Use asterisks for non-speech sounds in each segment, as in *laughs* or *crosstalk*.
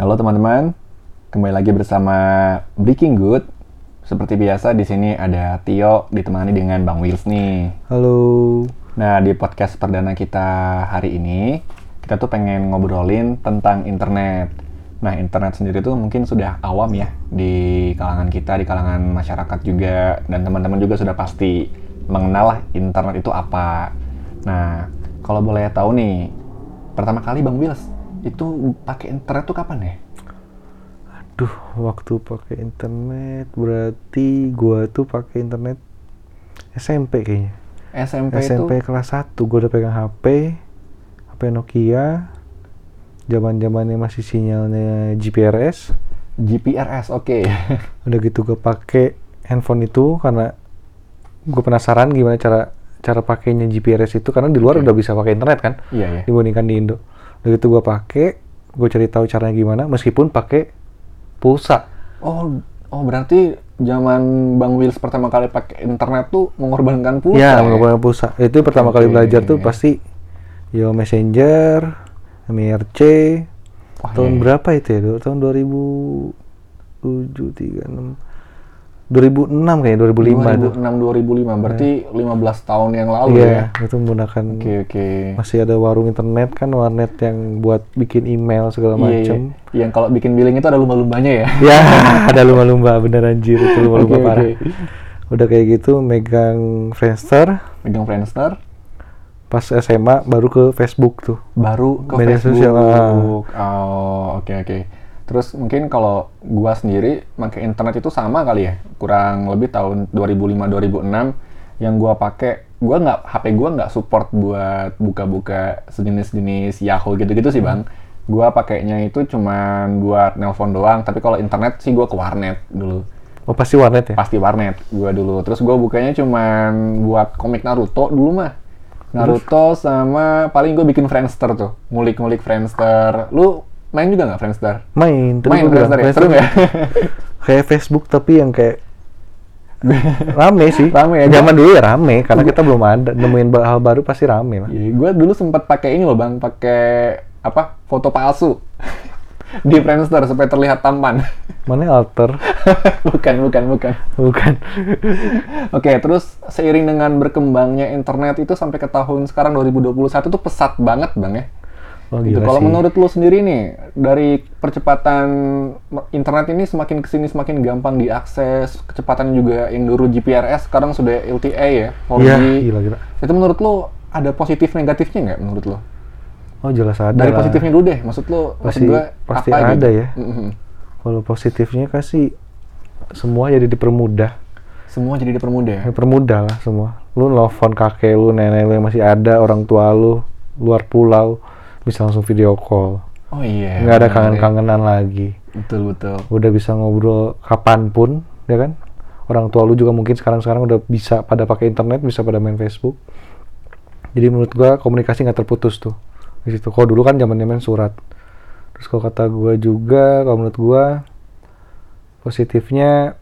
Halo teman-teman, kembali lagi bersama Breaking Good. Seperti biasa di sini ada Tio ditemani dengan Bang Wills nih. Halo. Nah di podcast perdana kita hari ini kita tuh pengen ngobrolin tentang internet. Nah internet sendiri tuh mungkin sudah awam ya di kalangan kita, di kalangan masyarakat juga dan teman-teman juga sudah pasti mengenal lah internet itu apa. Nah kalau boleh tahu nih pertama kali Bang Wills itu pakai internet tuh kapan ya? Aduh, waktu pakai internet berarti gua tuh pakai internet SMP kayaknya. SMP, SMP itu kelas 1 gua udah pegang HP, HP Nokia. Zaman-zamannya masih sinyalnya GPRS. GPRS oke. *laughs* Udah gitu gua pakai handphone itu karena gua penasaran gimana cara cara pakainya GPRS itu karena di luar udah bisa pakai internet kan Iya ya. dibandingkan di Indo. Udah gitu gua pakai, gua cari tahu caranya gimana meskipun pakai pulsa. Oh oh berarti zaman Bang Wills pertama kali pakai internet tuh mengorbankan pulsa. ya? Iya, menggunakan pulsa. Itu pertama kali Oke. belajar tuh pasti Yo Messenger, MRC. Wah, tahun iya. berapa itu ya? Du- Tahun 2007 36 2006 kayaknya 2005 tuh. 2006 2005 berarti 15 tahun yang lalu ya. Iya, itu menggunakan Oke oke. masih ada warung internet kan warnet yang buat bikin email segala Iya, iya. macam. Yang kalau bikin billing itu ada lumba-lumbanya ya. *laughs* Ya, *laughs* ada lumba-lumba beneran anjir itu lumba-lumba Oke, parah. oke. Udah kayak gitu megang Friendster, Megang Friendster pas SMA baru ke Facebook tuh. baru ke Media Facebook. sosial, ah. Oh, oke oke. Terus mungkin kalau gua sendiri pakai internet itu sama kali ya, kurang lebih tahun 2005 2006 yang gua pakai gua nggak HP gua nggak support buat buka-buka sejenis-jenis Yahoo gitu-gitu sih, Bang. Hmm. Gua pakainya itu cuman buat nelpon doang, tapi kalau internet sih gua ke warnet dulu. Oh, pasti warnet ya? Pasti warnet gua dulu. Terus gua bukanya cuman buat komik Naruto dulu mah. Naruto sama paling gue bikin Friendster tuh, ngulik-ngulik Friendster. Lu main juga nggak Friendster? main terus main gua bilang, Friendster ya, Facebook seru nggak? *laughs* kayak Facebook tapi yang *laughs* kayak rame sih Rame ya, zaman dulu ya rame karena kita belum ada nemuin ba- hal baru pasti rame lah Iya, gue dulu sempat pakai ini loh bang, pakai apa? Foto palsu *laughs* di Friendster supaya terlihat tampan. *laughs* mana alter *laughs* bukan, bukan, bukan. bukan Oke, terus seiring dengan berkembangnya internet itu sampai ke tahun sekarang 2021 tuh pesat banget bang ya. oh, Gitu. gila Kalau sih. menurut lu sendiri nih, dari percepatan internet ini semakin kesini semakin gampang diakses, kecepatan juga yang dulu GPRS sekarang sudah LTE ya, 4G. Iya, gila gila Itu menurut lu ada positif negatifnya nggak menurut lu? oh jelas ada Dari lah. positifnya dulu deh, maksud lu, maksud Pasti- gua pasti apa ada gitu? ya. Mm-mm. kalau positifnya kan sih semua jadi dipermudah Semua jadi ya? dipermudah. dipermudah lah semua lu nelfon kakek lu nenek lu yang masih ada orang tua lu luar pulau bisa langsung video call Oh iya. nggak ada kan? benar, kangen-kangenan lagi ya. Betul betul. udah bisa ngobrol kapanpun, ya kan? Orang tua lu juga mungkin sekarang-sekarang udah bisa pada pakai internet, bisa pada main Facebook. Jadi menurut gua komunikasi nggak terputus tuh di situ. Kalau dulu kan zamannya main surat. Terus kalau kata gua juga, kalau menurut gua positifnya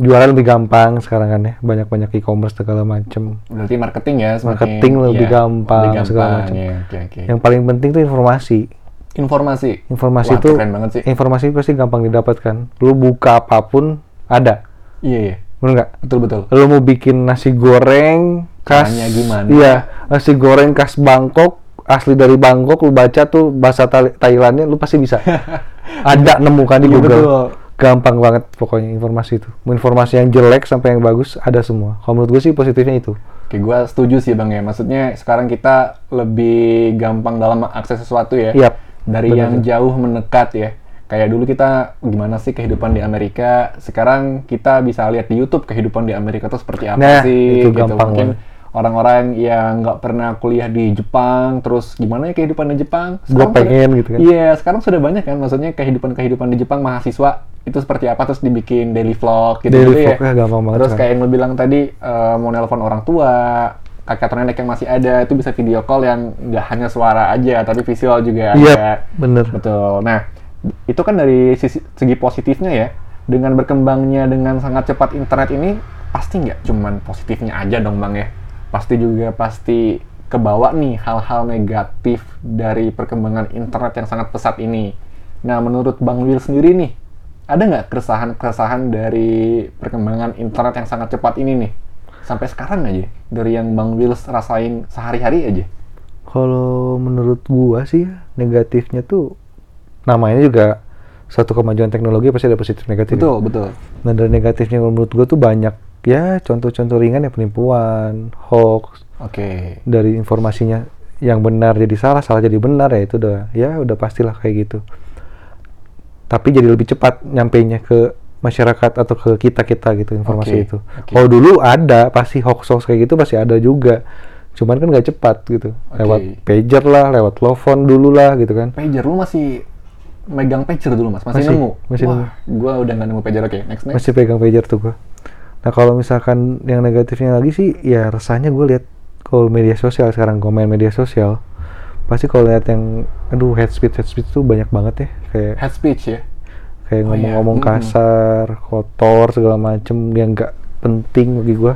jualan lebih gampang sekarang kan ya, banyak-banyak e-commerce segala macem. Berarti marketing ya semakin Marketing lebih iya, gampang, lebih segala gampang, macam. iya, oke, oke. Yang paling penting tuh informasi. Informasi. Informasi Wah, itu eh keren banget sih. informasi pasti gampang didapatkan. Lu buka apapun ada. Iya iya. Bener nggak? Betul betul. lo mau bikin nasi goreng khas Caranya gimana? iya nasi goreng khas Bangkok asli dari Bangkok lu baca tuh bahasa Tha- Thailandnya lu pasti *laughs* bisa ada nemukan Iya, di Google betul. gampang banget pokoknya informasi itu informasi yang jelek sampai yang bagus ada semua kalau menurut gue sih positifnya itu Oke, gue setuju sih Bang ya. Maksudnya sekarang kita lebih gampang dalam mengakses sesuatu ya. Yap, Dari benar yang jauh mendekat ya. Kayak dulu kita gimana sih kehidupan di Amerika, sekarang kita bisa lihat di YouTube kehidupan di Amerika itu seperti apa Nah, sih gitu. itu gampang Mungkin orang-orang yang nggak pernah kuliah di Jepang, terus gimana ya kehidupan di Jepang? gue Sekarang sudah- pengen gitu kan Iya, sekarang sudah banyak kan maksudnya kehidupan-kehidupan di Jepang mahasiswa itu seperti apa terus dibikin daily vlog gitu, dari ya. vlognya gampang banget Terus kan. kayak yang lu bilang tadi eh, mau nelpon orang tua, kakek atau nenek yang masih ada itu bisa video call yang nggak hanya suara aja tapi visual juga iya ada. bener Betul. Nah, itu kan dari sisi, segi positifnya ya. Dengan berkembangnya dengan sangat cepat internet ini pasti nggak cuman positifnya aja dong Bang ya. Pasti juga pasti kebawa nih hal-hal negatif dari perkembangan internet yang sangat pesat ini. Nah, menurut Bang Will sendiri nih, ada nggak keresahan-keresahan dari perkembangan internet yang sangat cepat ini nih? Sampai sekarang aja, dari yang Bang Will rasain sehari-hari aja. Kalau menurut gua sih ya, negatifnya tuh namanya juga satu kemajuan teknologi pasti ada positif negatif. Betul, betul. Nah dari negatifnya kalau menurut gua tuh banyak ya contoh-contoh ringan ya penipuan, hoax, Oke. dari informasinya yang benar jadi salah, salah jadi benar ya itu udah ya udah pastilah kayak gitu. Tapi jadi lebih cepat nyampainya ke masyarakat atau ke kita kita gitu Oke, informasi itu. oke. Kalau dulu ada pasti hoax hoax kayak gitu pasti ada juga. Cuman kan nggak cepat gitu. Lewat Oke. pager lah, lewat telepon dulu lah gitu kan. Pager, lu masih megang pager dulu, Mas? Masih, Masih, nemu? masih Wah, nemu. gua udah nggak nemu pager. Oke, next, next. masih pegang pager tuh gua. Nah kalau misalkan yang negatifnya lagi sih, ya rasanya gue lihat kalau media sosial sekarang komen media sosial, pasti kalau lihat yang, aduh head speech head speech tuh banyak banget ya, kayak Head speech ya? kayak Oh, iya. ngomong-ngomong Mm-mm. kasar, kotor segala macem yang nggak penting bagi gua.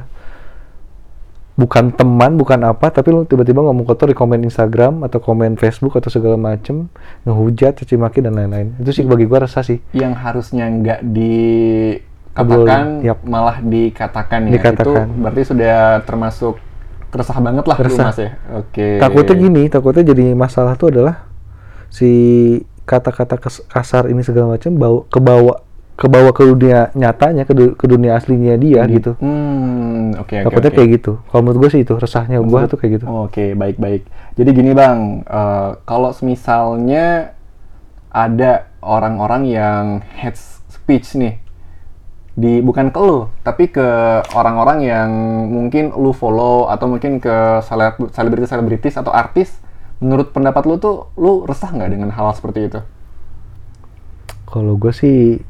Bukan teman, bukan apa, tapi lu tiba-tiba ngomong kotor di komen Instagram atau komen Facebook atau segala macem, ngehujat, caci maki dan lain-lain. Itu sih bagi gua resah sih. Yang harusnya nggak dikatakan, Ngobrol, yap. malah dikatakan ya. Dikatakan. Itu berarti sudah termasuk keresah banget lah lu, Keresah. Mas ya? Oke. takutnya gini takutnya jadi masalah tuh adalah si kata-kata kes- kasar ini segala macam bawa kebawa kebawa ke dunia nyatanya ke, du- ke dunia aslinya dia gitu Hmm, oke oke. takutnya oke. kayak gitu kalau menurut gue sih itu resahnya gue tuh kayak gitu Oke, baik-baik. Jadi gini Bang, eh, kalau misalnya ada orang-orang yang hate speech nih, di bukan ke lu, tapi ke orang-orang yang mungkin lu follow atau mungkin ke seleb- selebritis-selebritis atau artis, menurut pendapat lu tuh, lu resah nggak dengan hal seperti itu? kalau gue sih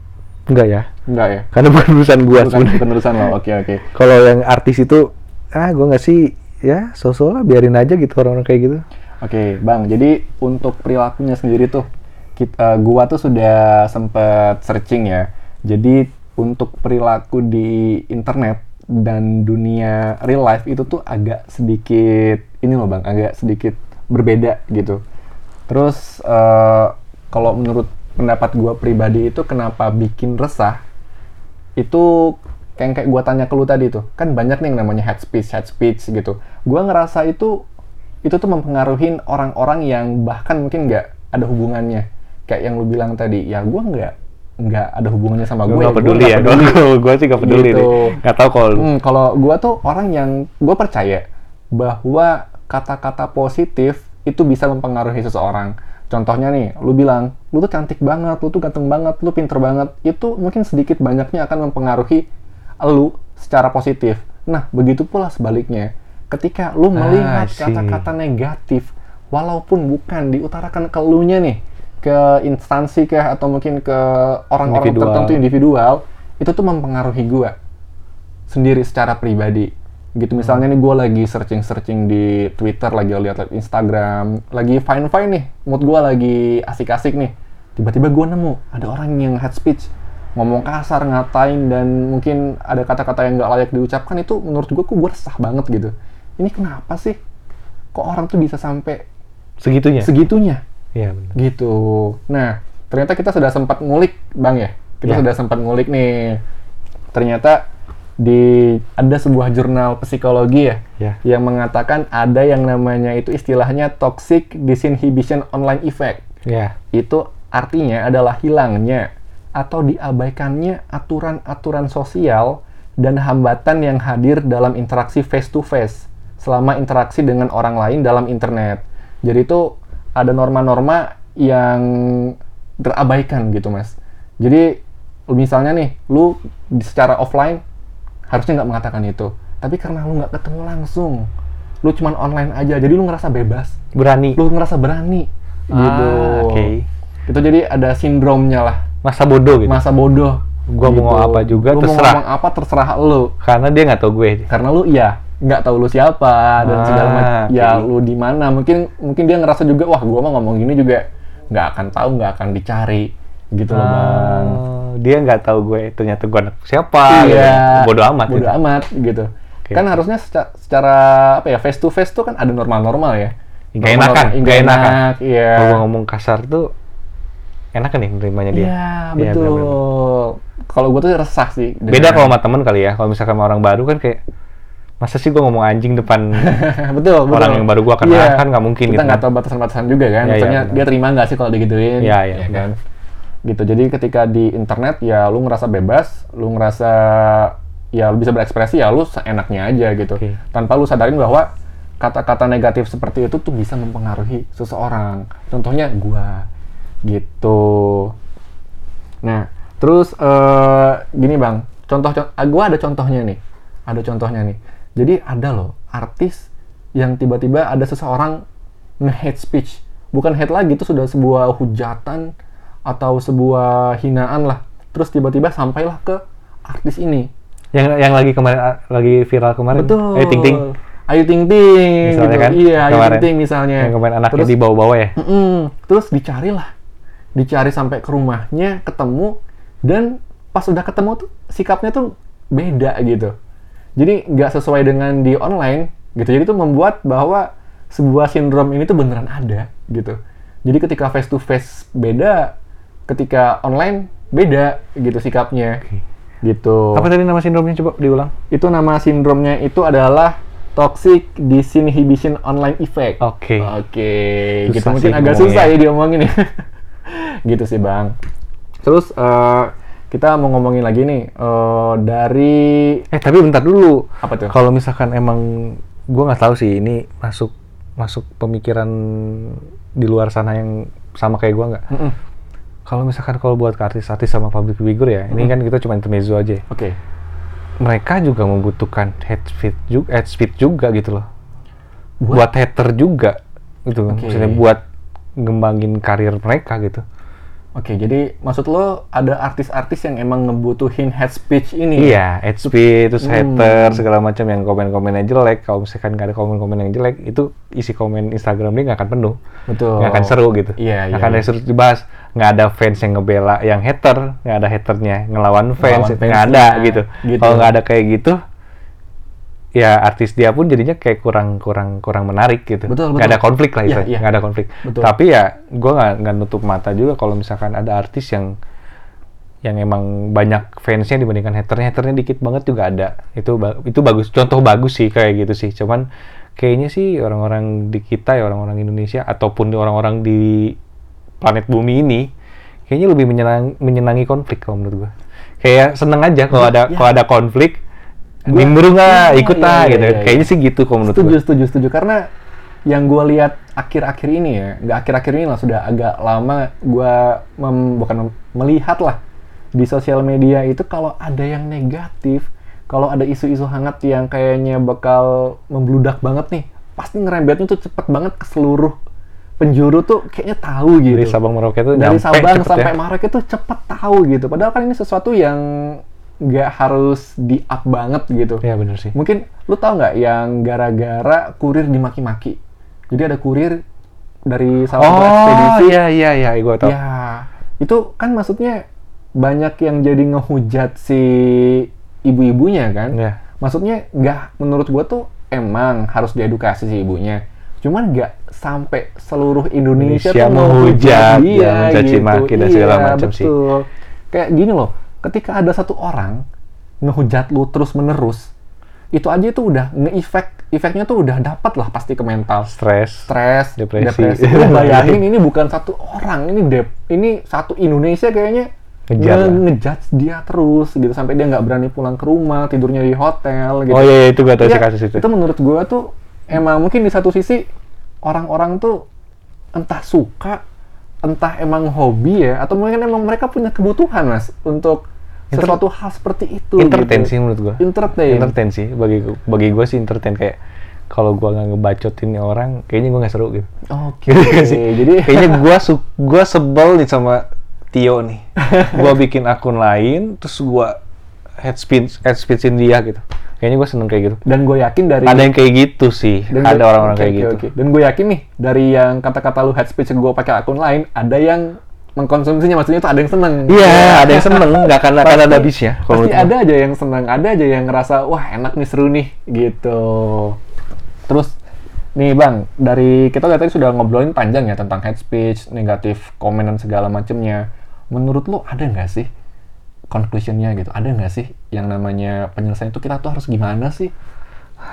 enggak ya Enggak ya? karena *laughs* bukan urusan gue Bukan penerusan lo, oke oke. kalau yang artis itu ah gue nggak sih ya sosok lah biarin aja gitu orang-orang kayak gitu Oke, Bang. Jadi untuk perilakunya sendiri tuh, kita, gua tuh sudah sempet searching ya. Jadi untuk perilaku di internet dan dunia real life itu tuh agak sedikit ini loh, Bang, agak sedikit berbeda gitu. Terus eh, kalau menurut pendapat gua pribadi itu kenapa bikin resah itu kayak kayak gue tanya ke lu tadi tuh kan banyak nih yang namanya head speech head speech gitu gue ngerasa itu itu tuh mempengaruhi orang-orang yang bahkan mungkin nggak ada hubungannya kayak yang lu bilang tadi ya gue nggak nggak ada hubungannya sama gue Gua nggak peduli ya *laughs* gue sih nggak peduli Gitu. nih nggak tahu kalau lu. Hmm, kalau gua tuh orang yang gue percaya bahwa kata-kata positif itu bisa mempengaruhi seseorang. Contohnya nih, lu bilang, lu tuh cantik banget, lu tuh ganteng banget, lu pinter banget. Itu mungkin sedikit banyaknya akan mempengaruhi lu secara positif. Nah, begitu pula sebaliknya. Ketika lu melihat Ah, see. kata-kata negatif, walaupun bukan diutarakan ke elunya nih, ke instansi kah, atau mungkin ke orang-orang Individual. tertentu individual, itu tuh mempengaruhi gua sendiri secara pribadi gitu misalnya nih gue lagi searching searching di Twitter lagi lihat Instagram lagi fine fine nih mood gue lagi asik asik nih tiba-tiba gue nemu ada orang yang head speech ngomong kasar ngatain dan mungkin ada kata-kata yang nggak layak diucapkan itu menurut gue kok gue resah banget gitu ini kenapa sih kok orang tuh bisa sampai segitunya segitunya Iya benar. gitu. Nah, ternyata kita sudah sempat ngulik, Bang ya. Kita Ya. sudah sempat ngulik nih. Ternyata di ada sebuah jurnal psikologi ya, Ya. yang mengatakan ada yang namanya itu istilahnya toxic disinhibition online effect. Ya. Itu artinya adalah hilangnya atau diabaikannya aturan-aturan sosial dan hambatan yang hadir dalam interaksi face to face selama interaksi dengan orang lain dalam internet. Jadi itu ada norma-norma yang terabaikan gitu, Mas. Jadi misalnya nih, lu secara offline harusnya nggak mengatakan itu. Tapi karena lu nggak ketemu langsung, lu cuman online aja, jadi lu ngerasa bebas Berani. lu ngerasa berani gitu. Ah, oke. Itu jadi ada sindromnya lah. Masa bodoh gitu. Masa bodoh. Gua mau ngomong apa juga, Lu terserah. Mau ngomong apa terserah lu. Karena dia nggak tahu gue. Karena lu iya nggak tahu lu siapa dan Ah, segala macam. oke. Ya lu di mana? Mungkin mungkin dia ngerasa juga wah gua mah ngomong gini juga nggak akan tahu, nggak akan dicari gitu loh, Bang. Ah, dia nggak tahu gue. Ternyata gue anak siapa. Iya. gitu. Bodoh amat. Bodoh gitu. amat gitu. Oke. Kan harusnya seca- secara, apa ya face to face tuh kan ada normal-normal ya. Nggak enakan, Normal-normal, nggak enakan. Iya. Kalau gue ngomong kasar tuh enak kan nih nerimanya dia. Iya, Iya, betul. benar-benar. Kalau gue tuh resah sih. Beda kalau dengan- sama temen kali ya. Kalau misalkan sama orang baru kan kayak masa sih gua ngomong anjing depan *laughs* *laughs* betul, betul. orang yang baru gua kenal Iya. kan nggak mungkin Kita gitu. nggak tahu batasan-batasan juga kan. Iya, iya, Maksudnya benar. dia terima nggak sih kalau digituin? Iya, iya, benar. kan. Gitu. Jadi ketika di internet ya lu ngerasa bebas, lu ngerasa ya lu bisa berekspresi ya lu seenaknya aja gitu. Oke. Tanpa lu sadarin bahwa kata-kata negatif seperti itu tuh bisa mempengaruhi seseorang. Contohnya gua gitu. Nah, terus eh, gini bang, contoh, contoh gue ada contohnya nih, ada contohnya nih. Jadi ada loh artis yang tiba-tiba ada seseorang nge-hate speech, bukan hate lagi itu sudah sebuah hujatan atau sebuah hinaan lah. Terus tiba-tiba sampailah ke artis ini. Yang yang lagi kemarin lagi viral kemarin. Betul. Eh ting ting. Ayu Ting Ting. Misalnya gitu. kan? Iya, Ayu Kemarin. Ting Ting misalnya. Yang kemarin anaknya Terus- di bawah-bawah ya. Mm-mm. Terus dicarilah, dicari sampai ke rumahnya, ketemu, dan pas udah ketemu tuh sikapnya tuh beda gitu. Jadi nggak sesuai dengan di online gitu. Jadi itu membuat bahwa sebuah sindrom ini tuh beneran ada gitu. Jadi ketika face to face beda, ketika online beda gitu sikapnya. Gitu. Apa tadi nama sindromnya coba diulang? Itu nama sindromnya itu adalah toxic disinhibition online effect. Oke. Oke, Susah gitu mungkin sih agak ngomongnya. susah ya diomongin ya. *laughs* gitu sih bang. Terus eh, kita mau ngomongin lagi nih eh, dari Eh tapi bentar dulu. apa tuh? Kalau misalkan emang gua nggak tahu sih ini masuk masuk pemikiran di luar sana yang sama kayak gua nggak. Mm-mm. Kalau misalkan kalau buat ke artis-artis sama public figure ya, Hmm. ini kan kita cuma intermezzo aja. ya. Oke, Mereka juga membutuhkan head speed juga, head speed juga gitu loh. Buat- Buat, hater juga gitu. Oke. Maksudnya buat ngembangin karir mereka gitu. oke. Jadi maksud lo ada artis-artis yang emang ngebutuhin head speech ini? Iya, head speed, terus Hmm. hater, segala macam yang komen-komennya jelek. Kalau misalkan nggak ada komen-komen yang jelek, itu isi komen Instagram dia nggak akan penuh. betul. nggak akan seru gitu. Iya, Nggak iya, akan ada iya. seru dibahas. Nggak ada fans yang ngebela yang hater, nggak ada haternya ngelawan fans, Ngelawan nggak ada fansnya, gitu. gitu. Kalau nggak ada kayak gitu, ya artis dia pun jadinya kayak kurang kurang kurang menarik gitu. Betul, Nggak betul. ada konflik lah Iya, itu, iya. nggak ada konflik. Betul. Tapi ya gue nggak nggak nutup mata juga kalau misalkan ada artis yang yang emang banyak fansnya dibandingkan haternya haternya dikit banget juga ada itu ba- itu bagus contoh bagus sih kayak gitu sih cuman kayaknya sih orang-orang di kita ya orang-orang Indonesia ataupun di orang-orang di planet bumi ini kayaknya lebih menyenang- menyenangi konflik kalau menurut gua kayak seneng aja kalau ada ya. kalau ada konflik nimbrung lah ya, ikut ya, ah ya, gitu ya, ya. kayaknya sih gitu kalau menurut Setuju, gua setuju, setuju. Karena yang gue lihat akhir-akhir ini ya, nggak akhir-akhir ini lah, sudah agak lama gue mem- bukan mem- melihat lah di sosial media itu kalau ada yang negatif, kalau ada isu-isu hangat yang kayaknya bakal membludak banget nih, pasti ngerembetnya tuh cepet banget ke seluruh penjuru tuh kayaknya tahu gitu dari Sabang Merauke itu dari nyampe Sabang cepet sampai ya. Maret itu cepet tahu gitu. Padahal kan ini sesuatu yang nggak harus di up banget gitu. Iya, bener sih Mungkin lu tahu nggak yang gara-gara kurir dimaki-maki. Jadi ada kurir dari salah satu oh ekspedisi. iya iya iya gua tau Ya, itu kan maksudnya banyak yang jadi ngehujat si ibu-ibunya kan. Iya. Maksudnya nggak menurut gua tuh emang harus diedukasi si ibunya. Cuman nggak sampai seluruh Indonesia, Indonesia tuh menghujat menghujat, dia ya, mencaci gitu. maki dan segala Iya, macam sih. betul. Kayak gini loh, ketika ada satu orang ngehujat lu terus menerus, itu aja itu udah nge-effect, efeknya tuh udah dapat lah pasti ke mental stres stres, Depresi. *laughs* depresi. Lu bayangin ini bukan satu orang, ini dep, ini satu Indonesia kayaknya Ngejar lah. nge- ngejudge dia terus gitu sampai dia nggak berani pulang ke rumah, tidurnya di hotel gitu. Oh iya, iya, itu gua tahu sih Ya, kasus itu. menurut gua tuh emang mungkin di satu sisi orang-orang tuh entah suka, entah emang hobi ya atau mungkin emang mereka punya kebutuhan Mas untuk Inter- sesuatu hal seperti itu entertain sih gitu. menurut gua. Entertain. Entertain sih bagi bagi gua sih entertain kayak kalau gua nggak ngebacotin nih orang kayaknya gua nggak seru *laughs* gitu. *laughs* Oke. Gitu nggak sih. Iya, Jadi kayaknya gua su- gua sebel nih sama Tio nih. Gua bikin akun lain terus gua head speech head speechin dia gitu. Kayaknya gua seneng kayak gitu. *laughs* dan gue yakin dari Ada yang kayak gitu sih. Dan ada gua- orang-orang oke, kayak oke, gitu. oke. Dan gue yakin nih dari yang kata-kata lu head speech yang gue pakai akun lain, ada yang mengkonsumsinya, maksudnya itu ada yang seneng. Iya, ada yang seneng, nggak akan akan ada habisnya. kalau Pasti menurut gua. ada aja yang seneng, ada aja yang ngerasa wah enak nih seru nih gitu. Terus Nih Bang, dari kita udah tadi sudah ngobrolin panjang ya tentang hate speech, negatif komen dan segala macemnya. Menurut lu ada nggak sih conclusionnya gitu? Ada nggak sih yang namanya penyelesaian itu kita tuh harus gimana sih?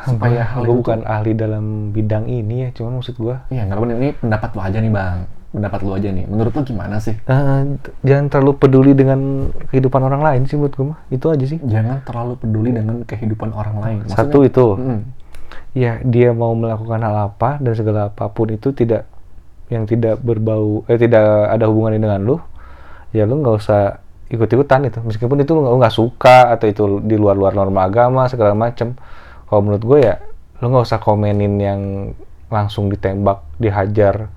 Supaya hal gue itu- bukan ahli dalam bidang ini ya, cuman maksud gue Iya, nggak apa-apa. Ini pendapat lu aja nih Bang. Pendapat lu aja nih. Menurut lu gimana sih? eh, jangan terlalu peduli dengan kehidupan orang lain sih menurut gue mah. Itu aja sih. Jangan terlalu peduli dengan kehidupan orang lain. Satu itu, Mm, ya dia mau melakukan hal apa dan segala apapun itu tidak yang tidak berbau eh tidak ada hubungannya dengan lu, ya lu nggak usah ikut-ikutan itu. Meskipun itu lu nggak- lu nggak suka atau itu di luar-luar norma agama segala macem. Kalau menurut gue ya lu nggak usah komenin yang langsung ditembak, dihajar,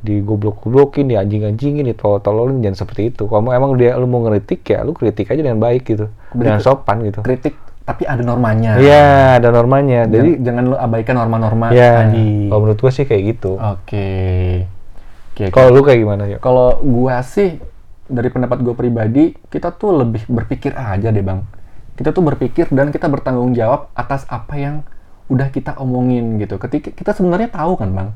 digoblok-goblokin, dianjing-anjingin, ditolol-tololin jangan seperti itu. Kalau emang dia lu mau ngeritik ya lu kritik aja dengan baik gitu, dengan sopan gitu. kritik tapi ada normanya. Iya, ada normanya. Jadi Jadi jangan lu abaikan norma-norma Ya, tadi. kalau menurut gua sih kayak gitu. Oke. Oke. Kalau lu kayak gimana ya? Kalau gua sih dari pendapat gua pribadi, kita tuh lebih berpikir aja deh, Bang. Kita tuh berpikir dan kita bertanggung jawab atas apa yang udah kita omongin gitu. Ketika kita sebenarnya tahu kan, Bang,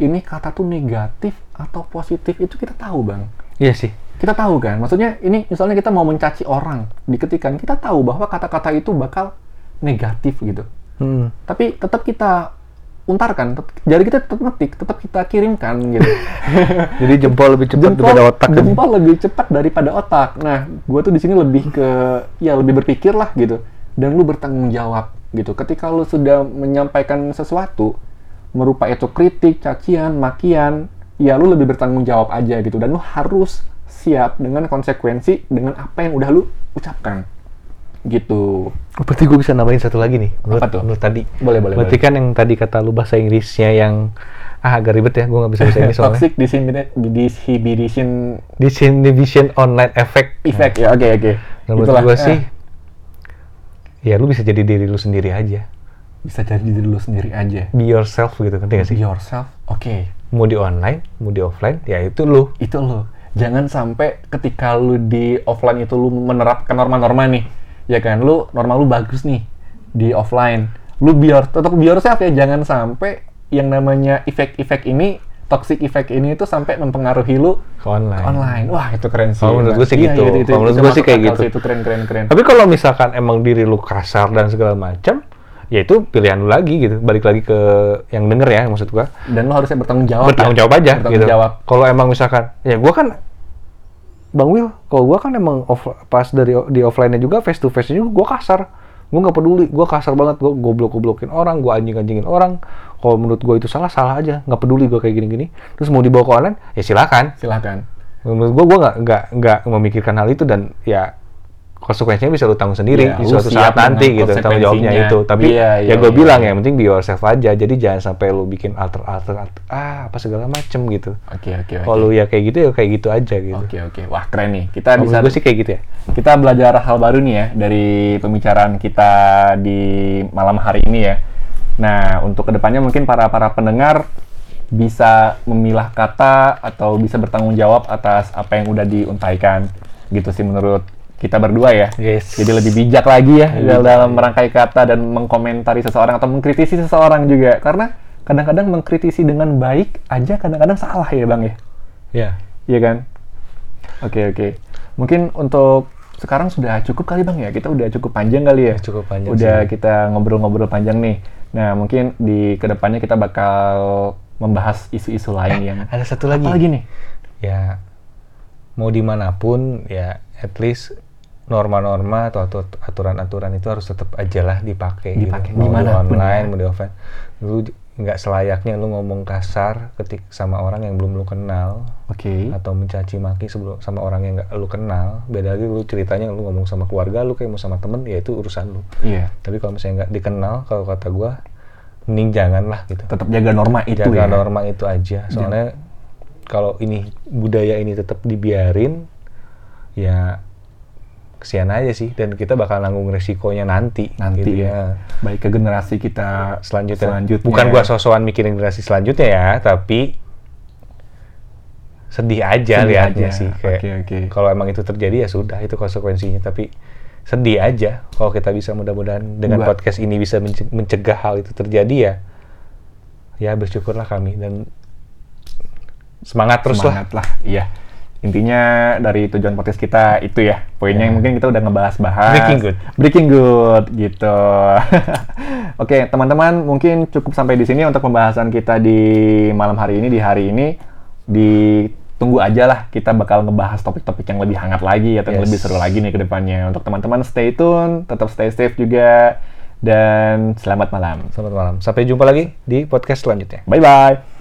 ini kata tuh negatif atau positif itu kita tahu, Bang. Iya sih. Kita tahu kan? Maksudnya ini misalnya kita mau mencaci orang di ketikan, kita tahu bahwa kata-kata itu bakal negatif gitu *laughs* Hmm. tapi tetap kita untarkan tet- jari kita tetap ngetik tetap kita kirimkan gitu Jadi jempol lebih cepat daripada otak. kan? jempol lebih cepat daripada otak nah gue tuh di sini lebih ke ya lebih berpikir lah gitu dan lu bertanggung jawab gitu ketika lu sudah menyampaikan sesuatu merupa itu kritik cacian makian ya lu lebih bertanggung jawab aja gitu dan lu harus siap dengan konsekuensi dengan apa yang udah lu ucapkan gitu Oh, Berarti gua bisa nambahin satu lagi nih. Menurut, Apa tuh? menurut tadi. boleh boleh Berarti kan yang tadi kata lu bahasa Inggrisnya yang ah agak ribet ya, gua nggak bisa bahasa *laughs* Inggris soalnya. toxic disinhibi- disinhibition Disinhibition online effect. effect ya oke oke Nah, menurut Itulah, gua eh, sih ya lu bisa jadi diri lu sendiri aja. Eh, bisa jadi diri lu sendiri aja Be yourself gitu ngerti gak be sih? yourself oke Mau di online, mau di offline, ya itu lu. itu lo jangan sampai ketika lu di offline itu lu menerapkan norma-norma nih ya kan lu norma lu bagus nih di offline lu biar tetap be yourself ya jangan sampai yang namanya efek-efek ini toxic effect ini itu sampai mempengaruhi lu Ke online. online wah itu keren sih Kalau menurut gua sih Iya, gitu. iya, itu- itu- Kalau itu menurut gua sih masuk kayak akal gitu. sih, itu keren keren keren Tapi kalau misalkan emang diri lu kasar dan segala macam, ya itu pilihan lu lagi gitu. Balik lagi ke yang denger ya maksud gua. dan lu harusnya bertanggung jawab Bertanggung ya. jawab aja bertanggung gitu. jawab Kalau emang misalkan ya gua kan Bang Will, kalau gua kan emang off- pas dari o- di offline-nya juga face to face-nya juga gua kasar. Gua nggak peduli, gua kasar banget, gua goblok-goblokin orang, gua anjing-anjingin orang. Kalau menurut gua itu salah, salah aja. nggak peduli gua kayak gini-gini. Terus mau dibawa ke online, ya silakan silakan menurut gua gua nggak nggak nggak memikirkan hal itu dan ya konsekuensinya bisa lu tanggung sendiri Ya, di lu suatu siap saat nanti dengan gitu tanggung jawabnya konsekuensinya. itu tapi Iya, iya, ya gue iya. bilang ya yang penting be yourself aja jadi jangan sampai lu bikin alter alter, alter- ah apa segala macem gitu oke oke oke kalau lu ya kayak gitu ya kayak gitu aja gitu Oke oke, wah keren nih. Kita Kalau bisa menurut gue sih kayak gitu ya kita belajar hal baru nih ya dari pembicaraan kita di malam hari ini ya. Nah untuk kedepannya mungkin para para pendengar bisa memilah kata atau bisa bertanggung jawab atas apa yang udah diuntaikan gitu sih menurut kita berdua ya. Yes. Jadi lebih bijak lagi ya Lebih bijak dalam merangkai kata dan mengkomentari seseorang atau mengkritisi seseorang juga karena kadang-kadang mengkritisi dengan baik aja kadang-kadang salah ya bang ya. ya Iya kan? Oke, oke. Mungkin untuk sekarang sudah cukup kali Bang ya. Kita udah cukup panjang kali ya. Udah cukup panjang Udah sih. kita ngobrol-ngobrol panjang nih. Nah, mungkin di kedepannya kita bakal membahas isu-isu lain *laughs* yang ada satu lagi apa lagi nih? ya mau dimanapun ya at least norma-norma atau atu- aturan-aturan itu harus tetap aja lah dipakai Dipakai gitu. mau di dimanapun, online ya. mau di offline lu j- nggak selayaknya lu ngomong kasar ketik sama orang yang belum lu kenal Oke. atau mencaci maki sebelum sama orang yang nggak lu kenal beda lagi lu ceritanya lu ngomong sama keluarga lu kayak mau sama temen ya itu urusan lu Iya. tapi kalau misalnya nggak dikenal kalau kata gua mending jangan lah gitu Tetap jaga norma itu ya. jaga norma itu aja soalnya kalau ini budaya ini tetap dibiarin ya kesian aja sih dan kita bakal nanggung resikonya nanti Nanti gitu ya. Baik ke generasi kita selanjutnya. selanjutnya. bukan gua sosokan mikirin generasi selanjutnya ya tapi sedih aja Sedih liatnya aja. sih kayak Oke, oke. kalau emang itu terjadi ya sudah itu konsekuensinya tapi sedih aja kalau kita bisa mudah-mudahan dengan Gua- podcast ini bisa mence- mencegah hal itu terjadi ya ya bersyukurlah kami dan semangat terus Semangat lah. Iya. Intinya dari tujuan podcast kita itu ya. Poinnya yang mungkin kita udah ngebahas-bahas. Breaking good. Breaking good gitu. *laughs* Oke, teman-teman mungkin cukup sampai di sini untuk pembahasan kita di malam hari ini di hari ini di tunggu aja lah kita bakal ngebahas topik-topik yang lebih hangat lagi atau yang Yes. lebih seru lagi nih ke depannya. Untuk teman-teman stay tune, tetap stay safe juga dan selamat malam. lah. Selamat malam. Sampai jumpa lagi di podcast selanjutnya. Bye bye.